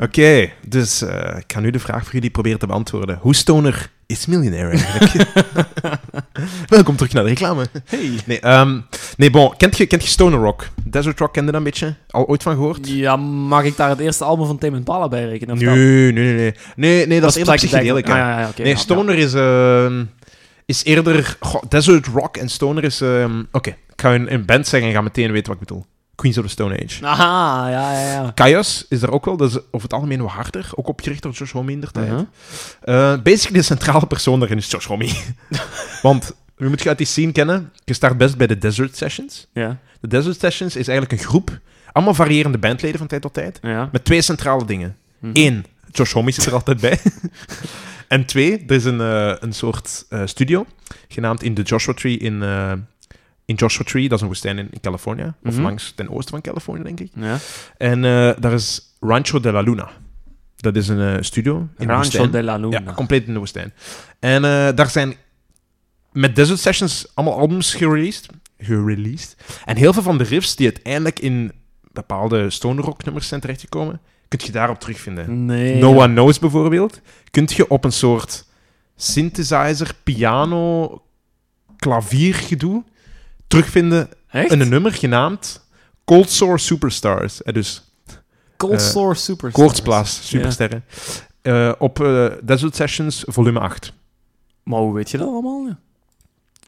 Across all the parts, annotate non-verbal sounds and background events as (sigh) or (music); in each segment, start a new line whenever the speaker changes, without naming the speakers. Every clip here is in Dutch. Oké, dus eh, ik ga nu de vraag voor jullie proberen te beantwoorden. Hoe stoner is miljonair
(laughs)
eigenlijk? Welkom terug naar de reclame.
Hey.
Nee, ehm, nee bon, kent je, kent je stoner rock? Desert rock kende dat een beetje? Al ooit van gehoord?
Ja, mag ik daar het eerste album van Tame Impala bij rekenen? of
Nee,
dat-
nee, nee, nee. Nee, nee dat, is eerder
psychedelic.
psychedelic. hè.
Ah, ja, ja, oké,
nee,
ja,
stoner is, ehm, is eerder... goh, desert rock en stoner is... ehm, Oké, ik ga een, een band zeggen en ga meteen weten wat ik bedoel. Queens of the Stone Age.
ja. Aha, ja, ja, ja.
Kaios is er ook wel, dat is over het algemeen wat harder. Ook opgericht door Josh Homme in der tijd.
Uh-huh.
Eh, basically, de centrale persoon daarin is Josh Homme. (laughs) Want, je moet je uit die scene kennen. Je start best bij de Desert Sessions.
Ja,
De Desert Sessions is eigenlijk een groep, allemaal variërende bandleden van tijd tot tijd,
ja.
met twee centrale dingen.
Mhm.
Eén, Josh Homme is er altijd bij. (laughs) en twee, er is een, eh, een soort eh, studio, genaamd in de Joshua Tree in, eh, in Joshua Tree, dat is een woestijn in, in Californië, of
Mhm.
langs ten oosten van Californië, denk ik.
ja.
En eh, daar is Rancho de la Luna. Dat is een eh, studio in de
Rancho
woestijn.
de la Luna.
Ja, compleet in de woestijn. En eh, daar zijn met Desert Sessions allemaal albums gereleased. gereleased. En heel veel van de riffs die uiteindelijk in bepaalde stoner rock nummers zijn terechtgekomen, kun je daarop terugvinden.
nee.
No One Knows bijvoorbeeld, kun je op een soort synthesizer, piano, klaviergedoe terugvinden
Echt?
in een nummer genaamd Cold Sore Superstars. Eh, dus
Cold
eh,
Sore Super.
Koortsblaas, supersterren. Eh, op eh, Desert Sessions, volume 8.
Maar hoe weet je dat allemaal? ja?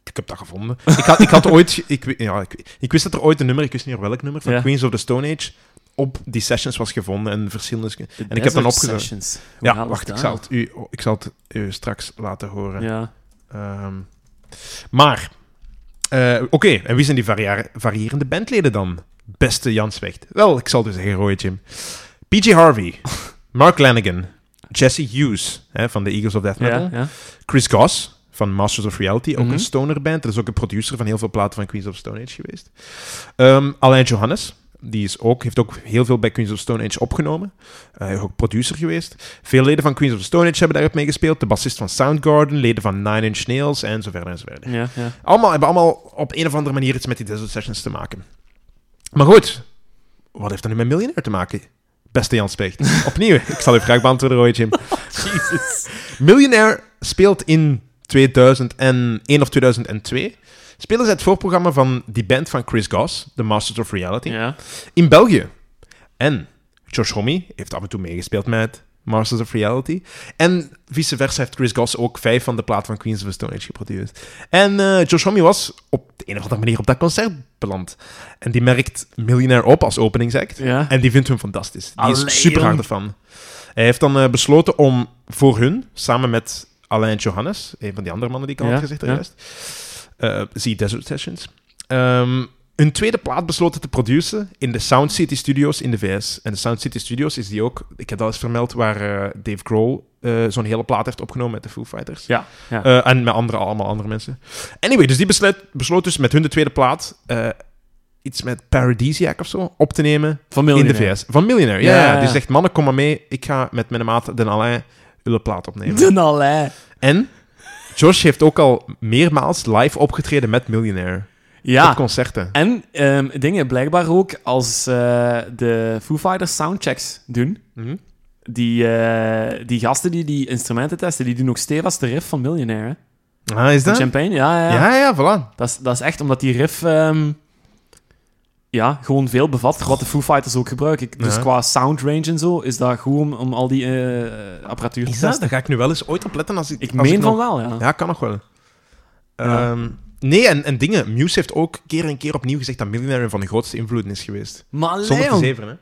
Ik heb dat gevonden. ik, had, ik had ooit... Ik, wi- ja, ik, ik wist dat er ooit een nummer, ik wist niet meer welk nummer, van
Ja.
Queens of the Stone Age op die sessions was gevonden en verschillende... ske-
De
En ik heb dan
Desert
opgezocht.
Sessions. Hoe haal
Ja,
je
wacht,
dat
ik zal,
aan?
het u, ik zal het u straks laten horen.
Ja.
Ehm, maar, eh, oké, en wie zijn die varia- variërende bandleden dan? Beste Jan Zwecht. Wel, ik zal dus zeggen, Roy Jim. PJ Harvey,
(laughs)
Mark Lanigan, Jesse Hughes hè, van de Eagles of Death Metal,
Ja, ja.
Chris Goss van Masters of Reality, ook
Mhm.
een stoner band. Dat is ook een producer van heel veel platen van Queens of Stone Age geweest. Ehm, Alain Johannes, die is ook, heeft ook heel veel bij Queens of Stone Age opgenomen. Eh, Hij is ook producer geweest. Veel leden van Queens of Stone Age hebben daarop meegespeeld. De bassist van Soundgarden, leden van Nine Inch Nails en zo verder en zo verder.
ja, ja.
Allemaal hebben allemaal op een of andere manier iets met die Desert Sessions te maken. Maar goed, wat heeft dat nu met miljonair te maken? Beste Jan Specht. Opnieuw, ik zal uw vraag beantwoorden, Roy Jim.
Jesus.
Millionaire speelt in 2001 of 2002. Spelen ze het voorprogramma van die band van Chris Goss, The Masters of Reality,
Ja.
in België. En Josh Homme heeft af en toe meegespeeld met Masters of Reality. En vice versa heeft Chris Goss ook vijf van de plaat van Queens of the Stone Age geproduceerd. En eh Josh Homme was op de een of andere manier op dat concert beland. En die merkt Millionaire op als openingsact.
Ja.
En die vindt hem fantastisch. Die
Allee,
is super hard
jong.
ervan. Hij heeft dan eh, besloten om voor hun, samen met Alain Johannes, een van die andere mannen die ik al
Ja,
had gezegd,
ja.
juist, eh, zie Desert Sessions, ehm, hun tweede plaat besloten te produceren in de Sound City Studios in de VS. En de Sound City Studios is die ook, ik heb dat eens vermeld, waar eh, Dave Grohl eh, zo'n hele plaat heeft opgenomen met de Foo Fighters.
Ja, ja.
Eh, en met andere, allemaal andere mensen. Anyway, dus die besluit, besloot dus met hun de tweede plaat eh, iets met Paradisiac of zo op te nemen
Van
in de
Millionaire.
VS. Van Millionaire, ja.
Ja,
ja,
ja,
Die
ja.
zegt, mannen, kom maar mee. Ik ga met mijn maat Den Alain ulle plaat opnemen.
(laughs) De Nalei.
En Josh heeft ook al meermaals live opgetreden met Millionaire. Op
Ja.
concerten.
En ehm, dingen, blijkbaar ook als eh, de Foo Fighters soundchecks doen.
Mhm.
Die, eh, die gasten die die instrumenten testen, die doen ook stevast de riff van Millionaire. hè.
Ah, is
Van
dat?
Champagne, ja, ja. ja.
Ja, ja, voilà.
Dat, is, dat is echt omdat die riff ehm, ja, gewoon veel bevat, wat de Foo Fighters ook gebruiken. Dus
Ja.
qua soundrange en zo is dat goed om, om al die eh, apparatuur te
Is dat?
testen.
Daar ga ik nu wel eens ooit op letten. Als ik,
Ik
als
meen van
nog-
wel, ja.
Ja, kan nog wel.
Ja.
Ehm, nee, en, en dingen. Muse heeft ook keer en keer opnieuw gezegd dat Millionaire een van de grootste invloeden is geweest.
Maar
Zonder te
Leon,
zeveren, hè.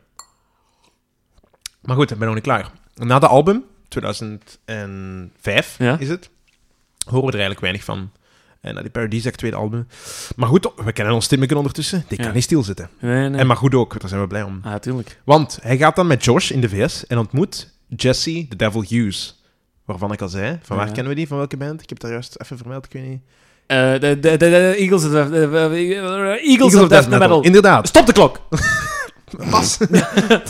Maar goed, ik ben nog niet klaar. Na dat album, 2005
Ja.
is het, horen we er eigenlijk weinig van. En na die Paradisiac tweede album. Maar goed, we kennen ons Timmeken ondertussen. Die
Ja.
kan niet stilzitten.
Nee, nee.
En maar goed ook, daar zijn we blij om.
Ah, tuurlijk.
Want hij gaat dan met Josh in de VS en ontmoet Jesse the Devil Hughes. Waarvan ik al zei. Van waar
Ja.
kennen we die? Van welke band? Ik heb daar juist even vermeld, ik weet niet.
Eh, de, de, de, de Eagles of, de, de- de- Eagles of Death Metal.
Inderdaad.
Stop de klok!
(laughs) Pas.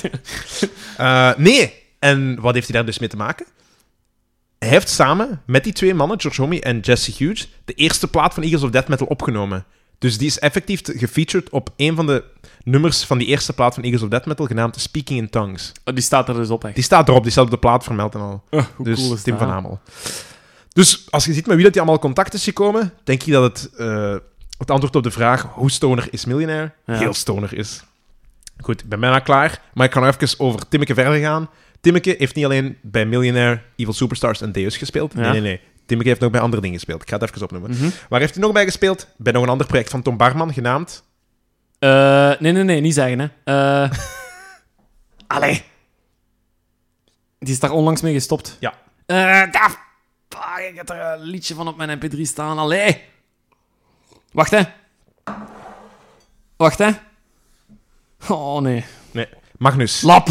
(laughs)
Eh, nee. En wat heeft hij daar dus mee te maken? Hij heeft samen met die twee mannen, George Homme en Jesse Hughes, de eerste plaat van Eagles of Death Metal opgenomen. Dus die is effectief te- gefeatured op een van de nummers van die eerste plaat van Eagles of Death Metal, genaamd Speaking in Tongues.
Oh, die staat er dus op, echt.
Die staat erop, die staat op de plaat vermeld en al.
Oh, hoe
dus
cool is
Tim
dat?
van Hamel. Dus als je ziet met wie dat die allemaal contact is gekomen, denk ik dat het, eh, het antwoord op de vraag hoe stoner is miljonair
Ja.
heel stoner is. Goed, ik ben bijna klaar, maar ik kan nog even over Timmeke verder gaan. Timmeke heeft niet alleen bij Millionaire, Evil Superstars en Deus gespeeld. Nee,
Ja.
nee, nee. Timmeke heeft nog bij andere dingen gespeeld. Ik ga het even opnoemen.
Mhm.
Waar heeft hij nog bij gespeeld? Bij nog een ander project van Tom Barman, genaamd...
Eh, nee, nee, nee, niet zeggen, hè. Eh (laughs) Allee. Die is daar onlangs mee gestopt.
Ja.
Eh, daar... Ah, ik heb er een liedje van op mijn mp3 staan. Allee. Wacht, hè. Wacht, hè. Oh, nee.
Nee, Magnus.
Lap.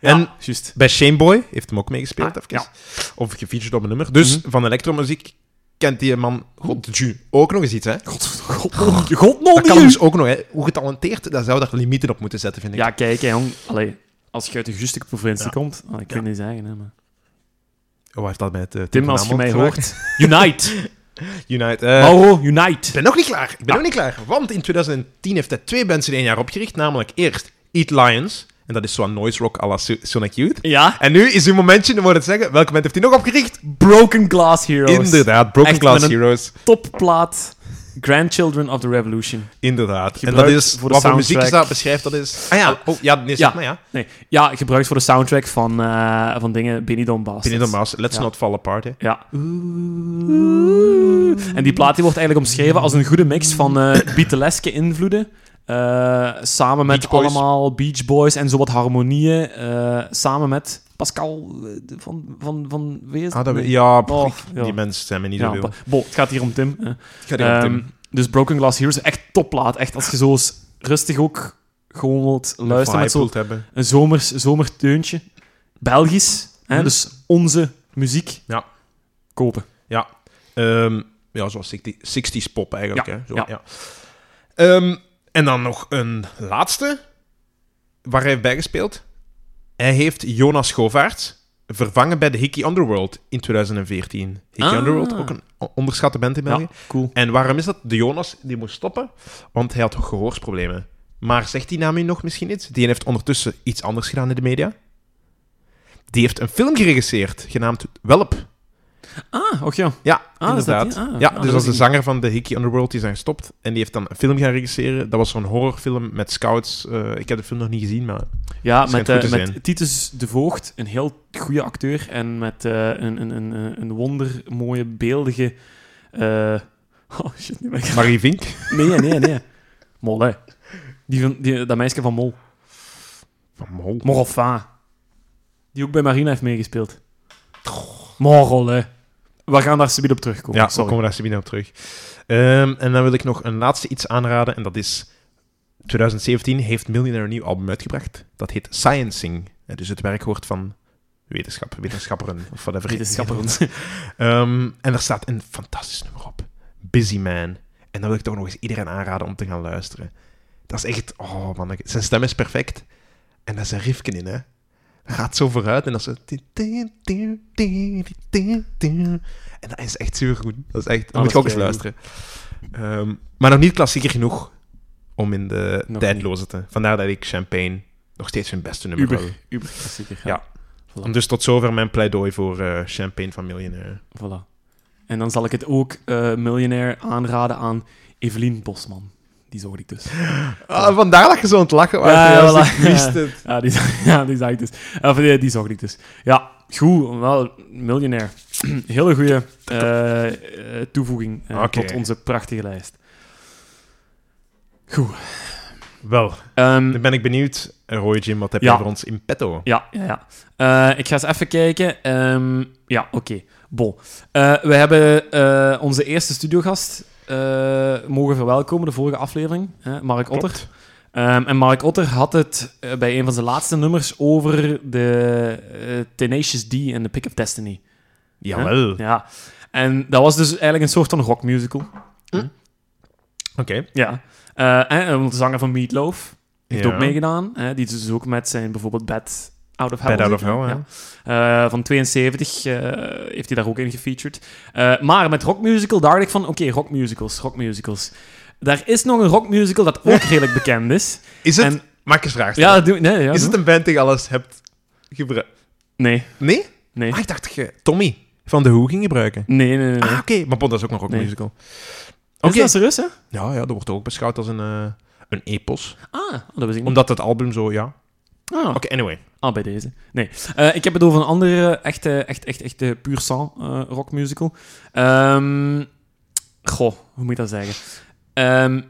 en
Juist.
Bij Shameboy heeft hem ook meegespeeld,
Ah, Mhm.
even. Of gefeatured op een nummer. Dus van elektromuziek kent die man Godju ook nog eens iets, hè?
God, god, god, god nog
Oh, Dat kan
niet.
dus ook nog, hè? Hoe getalenteerd, daar zou daar limieten op moeten zetten, vind ik.
Ja, kijk, hè, jong. Allee. Als je uit de juiste provincie
Ja.
komt... ah, ik kan niet zeggen, hè, maar...
Oh, waar heeft dat met eh, Tim,
Tim,
van
als je
Hamel
mij Oh.
te
hoort...
(laughs)
Unite.
maken? Unite. eh,
Mauro, unite.
ik ben nog niet klaar. Ik ben nog niet klaar. Want in 2010 heeft hij twee bands in één jaar opgericht. Namelijk eerst Eat Lions. En dat is zo'n noise rock à la So- Sonic Youth.
Ja.
En nu is uw momentje, dan moet het zeggen. Welke band heeft hij nog opgericht?
Broken Glass Heroes.
Inderdaad, Broken
Echt
Glass
met een-
Heroes.
Topplaat Grandchildren of the Revolution.
Inderdaad. En dat
Gebruikt
is
voor de
wat voor muziek is
soundtrack.
dat beschrijft, dat is... Ah ja, oh, ja, nee, zeg
Ja.
maar, ja.
Nee, ja, gebruikt voor de soundtrack van, eh, van dingen Benny Don Bass.
Binnen de Mouse, Let's
Ja.
Not Fall Apart, hè.
Ja. En die plaat die wordt eigenlijk omschreven als een goede mix van eh Beatleske invloeden. eh, samen met
Beach Boys.
allemaal Beach Boys en zo wat harmonieën. eh, samen met Pascal eh, van, van, van Wees.
Ah, dat we-
Nee.
Ja, pff,
Oh,
ik-
ja.
die mensen zijn me niet
Ja,
zoveel.
pa- Bo, het gaat hier om Tim. hè.
Ik ga die op
Ehm, dus Broken Glass Heroes, echt topplaat. Echt, als je zo eens rustig ook gewoon wilt luisteren met zo'n
hebben.
zomers, zomerteuntje. Belgisch, hè,
Hm.
dus onze muziek.
Ja.
Kopen.
Ja. Ehm, ja, zoals 60 60s pop eigenlijk,
Ja,
hè. Zo, ja.
ja.
Ehm, en dan nog een laatste, waar hij heeft bijgespeeld. Hij heeft Jonas Govaerts vervangen bij de Hickey Underworld in 2014. Hickey
Ah.
Underworld, ook een o- onderschatte band in België.
Ja, cool.
En waarom is dat? De Jonas die moest stoppen, want hij had gehoorsproblemen. Maar zegt die naam u nog misschien iets? Die heeft ondertussen iets anders gedaan in de media. Die heeft een film geregisseerd, genaamd Welp.
Ah, och ja.
Ja,
Ah, is dat
inderdaad.
die? Ah,
ja,
ah,
dus dat
dat
is
is
de
die.
zanger van de Hickey Underworld, die zijn gestopt. En die heeft dan een film gaan regisseren. Dat was zo'n horrorfilm met scouts. Eh, ik heb de film nog niet gezien, maar...
Ja,
Schijnt
met,
goed
eh,
te zijn.
met Titus de Voogd, een heel goede acteur. En met eh, een, een, een, een wondermooie, beeldige... eh, (laughs) Oh, shit, nu ben ik-
Marie Vink.
Nee, nee, nee. Mol, hè. Die, van- die, dat meisje van Mol.
Van Mol.
Moroffa. Die ook bij Marina heeft meegespeeld. Morrel, hè. We gaan daar subiet op terugkomen.
Ja, we
sorry.
komen daar zo op terug. Ehm, en dan wil ik nog een laatste iets aanraden. En dat is... 2017 heeft Millionaire een nieuw album uitgebracht. Dat heet Sciencing. Eh, Dus het werkwoord van wetenschap, wetenschapperen of whatever.
Wetenschapper.
(laughs) Ehm, en er staat een fantastisch nummer op. Busy Man. En dat wil ik toch nog eens iedereen aanraden om te gaan luisteren. Dat is echt... Oh, man. Zijn stem is perfect. En daar is een riffje in, hè. Dat gaat zo vooruit en dat is zo... En dat is echt super goed. Ah, Dat is echt... Dan moet
Alles
je ook eens
kei goed.
luisteren. Ehm, maar nog niet klassieker genoeg om in de
Nog
tijdloze te... Vandaar dat ik Champagne nog steeds hun beste nummer
Uber.
wil.
Uber, klassieker.
Ja.
Ja.
Dus tot zover mijn pleidooi voor eh, Champagne van Millionaire.
Voilà. En dan zal ik het ook eh miljonair aanraden aan Evelien Bosman. Die zocht
(laughs)
ik dus.
Ah, vandaar dat je zo aan het lachen was.
Ja,
Ja,
voilà.
Ik wist het.
Ja, die, ja, die zag (laughs) ik dus. Of, die, die zocht ik dus. Ja, goed. Wel, miljonair. (clears throat) Hele goede toevoeging eh,
Oké.
tot onze prachtige lijst.
Wel,
Ehm,
dan ben ik benieuwd. Eh, Roy Jim, wat heb
Ja.
jij voor ons in petto?
Ja, ja, ja. Eh, ik ga eens even kijken. Ehm, ja, oké. Bon. Eh, we hebben eh, onze eerste studiogast eh, mogen verwelkomen, de vorige aflevering, hè, Mark Otter.
Klopt.
Ehm, en Mark Otter had het eh, bij een van zijn laatste nummers over de eh, Tenacious D en The Pick of Destiny.
Jawel.
Ja. En dat was dus eigenlijk een soort van rockmusical.
Oké.
Ja. Eh, en, eh, want de zanger van Meatloaf heeft
Ja.
ook meegedaan. Hè, die dus ook met zijn bijvoorbeeld Bad Out of Hell.
Bad Out of
zit, hè.
Hell, hè?
Ja. Eh, van 72 eh, heeft hij daar ook in gefeatured. Eh, maar met rockmusical dacht ik van, oké, rockmusicals, rockmusicals. Daar is nog een rockmusical dat ook redelijk bekend is.
Is het...
En-
Maak eens vraag
(laughs) Ja,
stellen.
dat doe, nee, ja,
is
doe.
het een band die je alles hebt gebruikt?
Nee,
Nee?
nee.
Ah, ik dacht dat je Tommy van The Who ging gebruiken.
Nee, nee, nee. nee.
Ah, oké. Maar bon, dat is ook een rockmusical.
Is
Oké.
dat serieus, hè?
Ja, ja, dat wordt ook beschouwd als een, eh, een epos.
Ah, dat was ik niet.
Omdat het album zo, ja... Oké,
Ah,
anyway.
ah, bij deze. Nee. Eh, ik heb het over een andere, echt, eh, echt, echt, echt eh, puur sang eh, rockmusical. Ehm, goh, hoe moet ik dat zeggen? Ehm,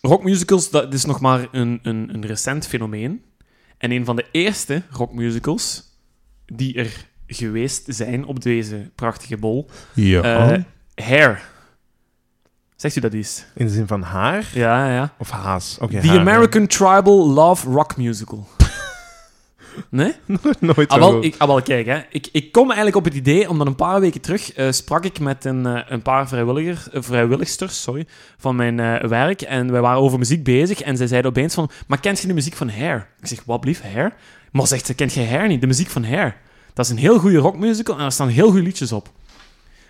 rockmusicals, dat is nog maar een, een, een recent fenomeen. En een van de eerste rockmusicals die er geweest zijn op deze prachtige bol.
Ja.
eh, Hair. Zegt u dat eens?
In de zin van haar
Ja, ja.
of haas? Oké,
The
haar,
American Tribal Love Rock (laughs) Musical. nee?
hè. (laughs) Nooit
Ah,
zo
wel,
goed.
ik, ah, wel, kijk, hè. Ik, ik kom eigenlijk op het idee, omdat een paar weken terug eh, sprak ik met een, eh, een paar vrijwilligers, eh, vrijwilligsters sorry, van mijn eh, werk. En wij waren over muziek bezig. En zij zeiden opeens van, maar kent je de muziek van Hair? Ik zeg, wat blief, Hair? Maar zegt ze, kent je Hair niet? De muziek van Hair. Dat is een heel goede rockmusical en daar staan heel goede liedjes op.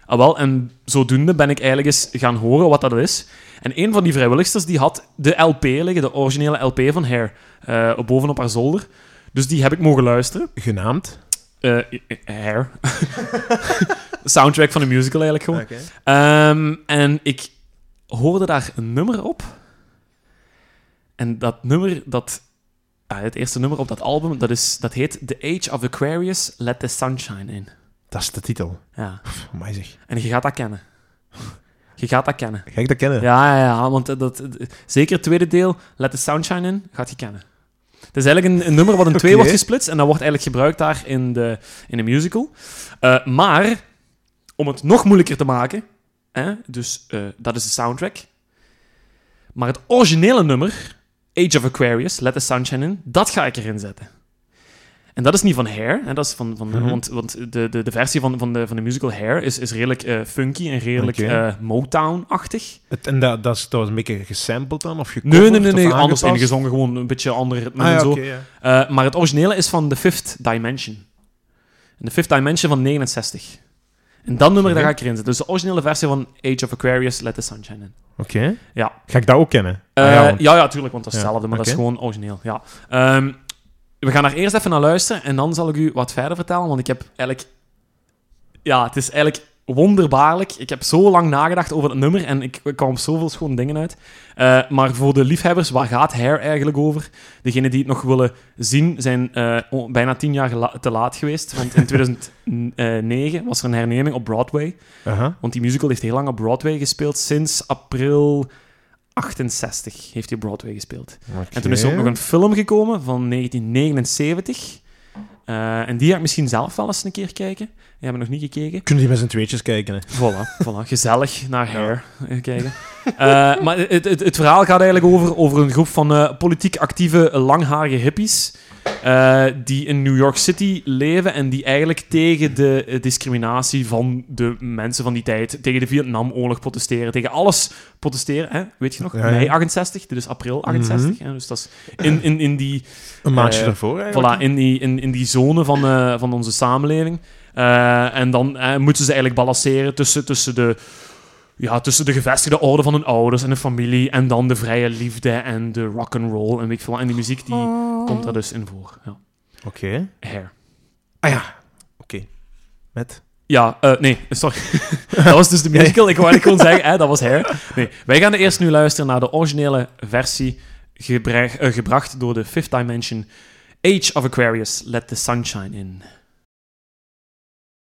Ah, wel, en zodoende ben ik eigenlijk eens gaan horen wat dat is. En een van die vrijwilligsters die had de LP liggen, de originele LP van Hair, eh, bovenop haar zolder. Dus die heb ik mogen luisteren.
Genaamd?
Eh, eh, (laughs) hair. Soundtrack van een musical eigenlijk gewoon.
Oké.
Ehm, en ik hoorde daar een nummer op. En dat nummer, dat, ah, het eerste nummer op dat album, dat, is, dat heet The Age of Aquarius, Let the Sunshine In.
Dat is de titel.
Ja.
Pff, amai zeg.
En je gaat dat kennen. Je gaat dat kennen.
Ga ik dat kennen?
Ja, ja, ja, want dat, dat- zeker het tweede deel, Let the Sunshine In, gaat je kennen. Het is eigenlijk een, een
(laughs)
nummer wat in twee
Oké.
wordt gesplitst en dat wordt eigenlijk gebruikt daar in de, in de musical. Eh, maar, om het nog moeilijker te maken, hè, dus eh, dat is de soundtrack. Maar het originele nummer, Age of Aquarius, Let the Sunshine In, dat ga ik erin zetten. En dat is niet van Hair, hè, dat is van, van,
Mhm.
want, want de, de, de versie van, van, de, van de musical Hair is, is redelijk eh, funky en redelijk
Oké.
eh, Motown-achtig.
Het, en dat, dat, is, dat was een beetje gesampled dan? Of gecoverd,
Nee, nee, nee,
of
nee anders
aangepast?
ingezongen, gewoon een beetje andere ritme
Ah,
en
ja,
zo.
oké, ja.
Eh, maar het originele is van The Fifth Dimension. En de Fifth Dimension van 69. En dat nummer, daar ga ik erin zetten. Dus de originele versie van Age of Aquarius, Let the Sunshine In.
Oké.
Ja.
Ga ik dat ook kennen?
Eh,
Ah,
ja,
want-
ja, tuurlijk, want dat
Ja,
is hetzelfde, maar dat
oké.
is gewoon origineel. Ja. Ehm, we gaan daar eerst even naar luisteren en dan zal ik u wat verder vertellen, want ik heb eigenlijk... Ja, het is eigenlijk wonderbaarlijk. Ik heb zo lang nagedacht over het nummer en ik, ik kwam op zoveel schone dingen uit. Eh, maar voor de liefhebbers, waar gaat Hair eigenlijk over? Degenen die het nog willen zien, zijn eh, o- bijna tien jaar la- te laat geweest. Want
(laughs)
in 2009 was er een herneming op Broadway.
Aha.
Want die musical heeft heel lang op Broadway gespeeld. Sinds april 68 heeft hij op Broadway gespeeld. En toen is er ook nog een film gekomen van 1979. Eh, en die ga ik misschien zelf wel eens een keer kijken. Die hebben we nog niet gekeken.
Kunnen die met z'n tweetjes kijken? Hè?
Voilà, voilà. gezellig naar Hair eh, kijken. Eh, maar het, het, het verhaal gaat eigenlijk over, over een groep van eh, politiek actieve eh, langharige hippies. eh, die in New York City leven en die eigenlijk tegen de eh, discriminatie van de mensen van die tijd, tegen de Vietnamoorlog protesteren, tegen alles protesteren. Hè? Weet je nog?
Ja, Mhm. ja.
Mei 68, dit is april 68. hè, Dus dat is in, in, in die
Een maandje
Eh,
daarvoor
Voilà,
eigenlijk?
in die, in, in die zone van, eh, van onze samenleving. Eh, en dan eh, moeten ze eigenlijk balanceren tussen, tussen, de, ja, tussen de gevestigde orde van hun ouders en hun familie. En dan de vrije liefde en de rock'n'roll en weet ik veel wat. En die muziek die
Oh.
komt daar dus in voor. Ja.
Oké.
Hair.
Ah ja. Oké. Met?
Ja, eh, nee,
(laughs)
sorry. dat was dus de musical. Ik wou eigenlijk gewoon zeggen, hè, dat was Hair. Nee, wij gaan eerst nu luisteren naar de originele versie gebre- eh, gebracht door de Fifth Dimension. Age of Aquarius, Let the Sunshine In.